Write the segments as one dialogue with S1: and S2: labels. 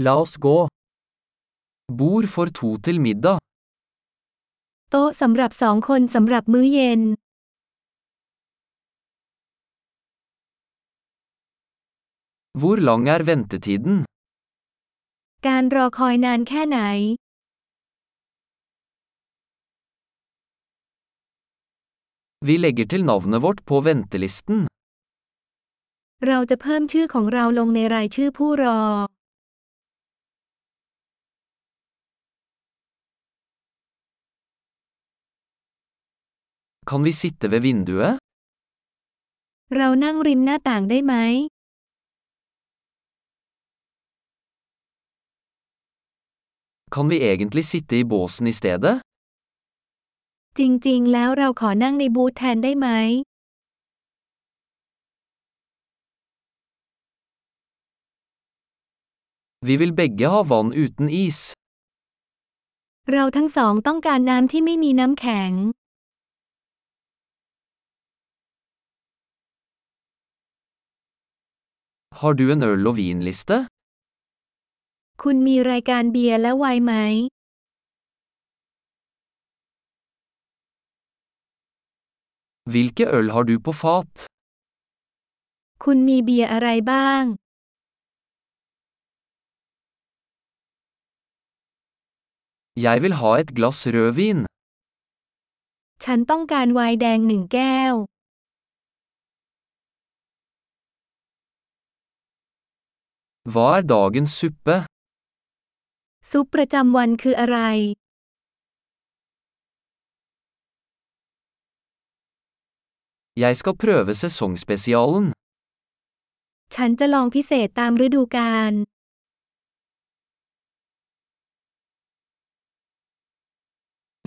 S1: La oss gå. Bord for to til middag.
S2: โต๊ะสำหรับสองคนสำหรับมื้อเย็น
S1: Hvor lang er ventetiden?
S2: การรอคอยนานแค่ไหน
S1: Vi legger til navnet vårt på ventelisten.
S2: เราจะเพิ่มชื่อของเราลงในรายชื่อผู้รอ
S1: Kan vi sitte ved vinduet?
S2: เรานั่งริมหน้าต่างได้ไหม
S1: Kan vi egentlig sitte i båsen i stedet?
S2: จริงๆ แล้วเราขอนั่งในบูธแทนได้ไหม
S1: Vi vil begge ha vann uten is.
S2: เราทั้งสองต้องการน้ำที่ไม่มีน้ำแข็ง
S1: Har du en øl- og vinliste?
S2: คุณมีรายการเบียร์และไวน์ไหม
S1: Hvilke øl har du på fat?
S2: คุณมีเบียร์อะไรบ้าง
S1: Jeg vil ha et glass rødvin.
S2: ฉันต้องการไวน์แดงหนึ่งแก้ว
S1: Hva er dagens suppe?
S2: ซุปประจำวันคืออะไร
S1: Jeg skal prøve sesongspesialen.
S2: ฉันจะลองพิเศษตามฤดูกาล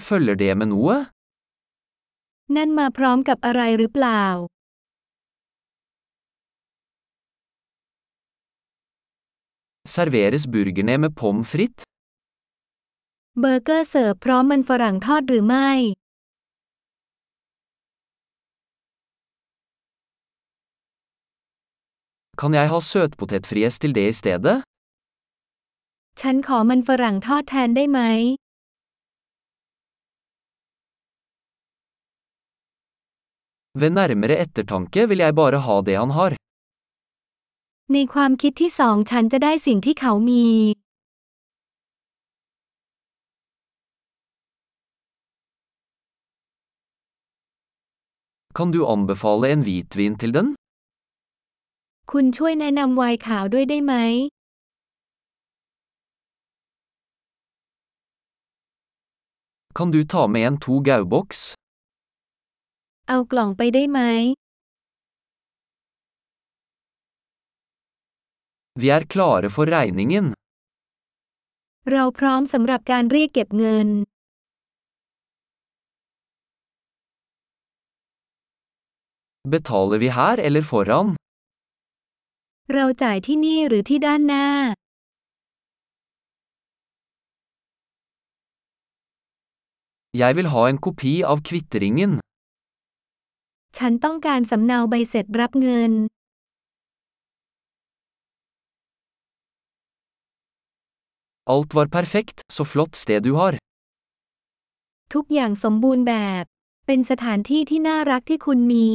S1: Følger det med noe?
S2: นั่นมาพร้อมกับอะไรหรือเปล่า
S1: Serveres burgerne med pommes frites?
S2: เบอร์เกอร์เสิร์ฟพร้อมมันฝรั่งทอดหรือไม่
S1: Kan jeg ha søtpotetfries til det i stedet?
S2: ฉันขอมันฝรั่งทอดแทนได้ไหม
S1: Ved nærmere ettertanke vil jeg bare ha det han har.
S2: ในความคิดที่สองฉันจะได้สิ่งที่เขามี
S1: Kan du anbefale en hvitvin til den?
S2: คุณช่วยแนะนำไวน์ขาวด้วยได้ไหม
S1: Kan du ta med en to gau-boks?
S2: เอากล่องไปได้ไหม
S1: Vi er klare for regningen.
S2: เราพร้อมสำหรับการเรียกเก็บเงิน
S1: Betaler vi her eller foran?
S2: เราจ่ายที่นี่หรือที่ด้านหน้า
S1: Jeg vil ha en kopi av kvitteringen.
S2: ฉันต้องการสำเนาใบเสร็จรับเงิน
S1: Alt var perfekt, så flott sted du har.
S2: ทุกอย่างสมบูรณ์แบบ เป็นสถานที่ที่น่ารักที่คุณมี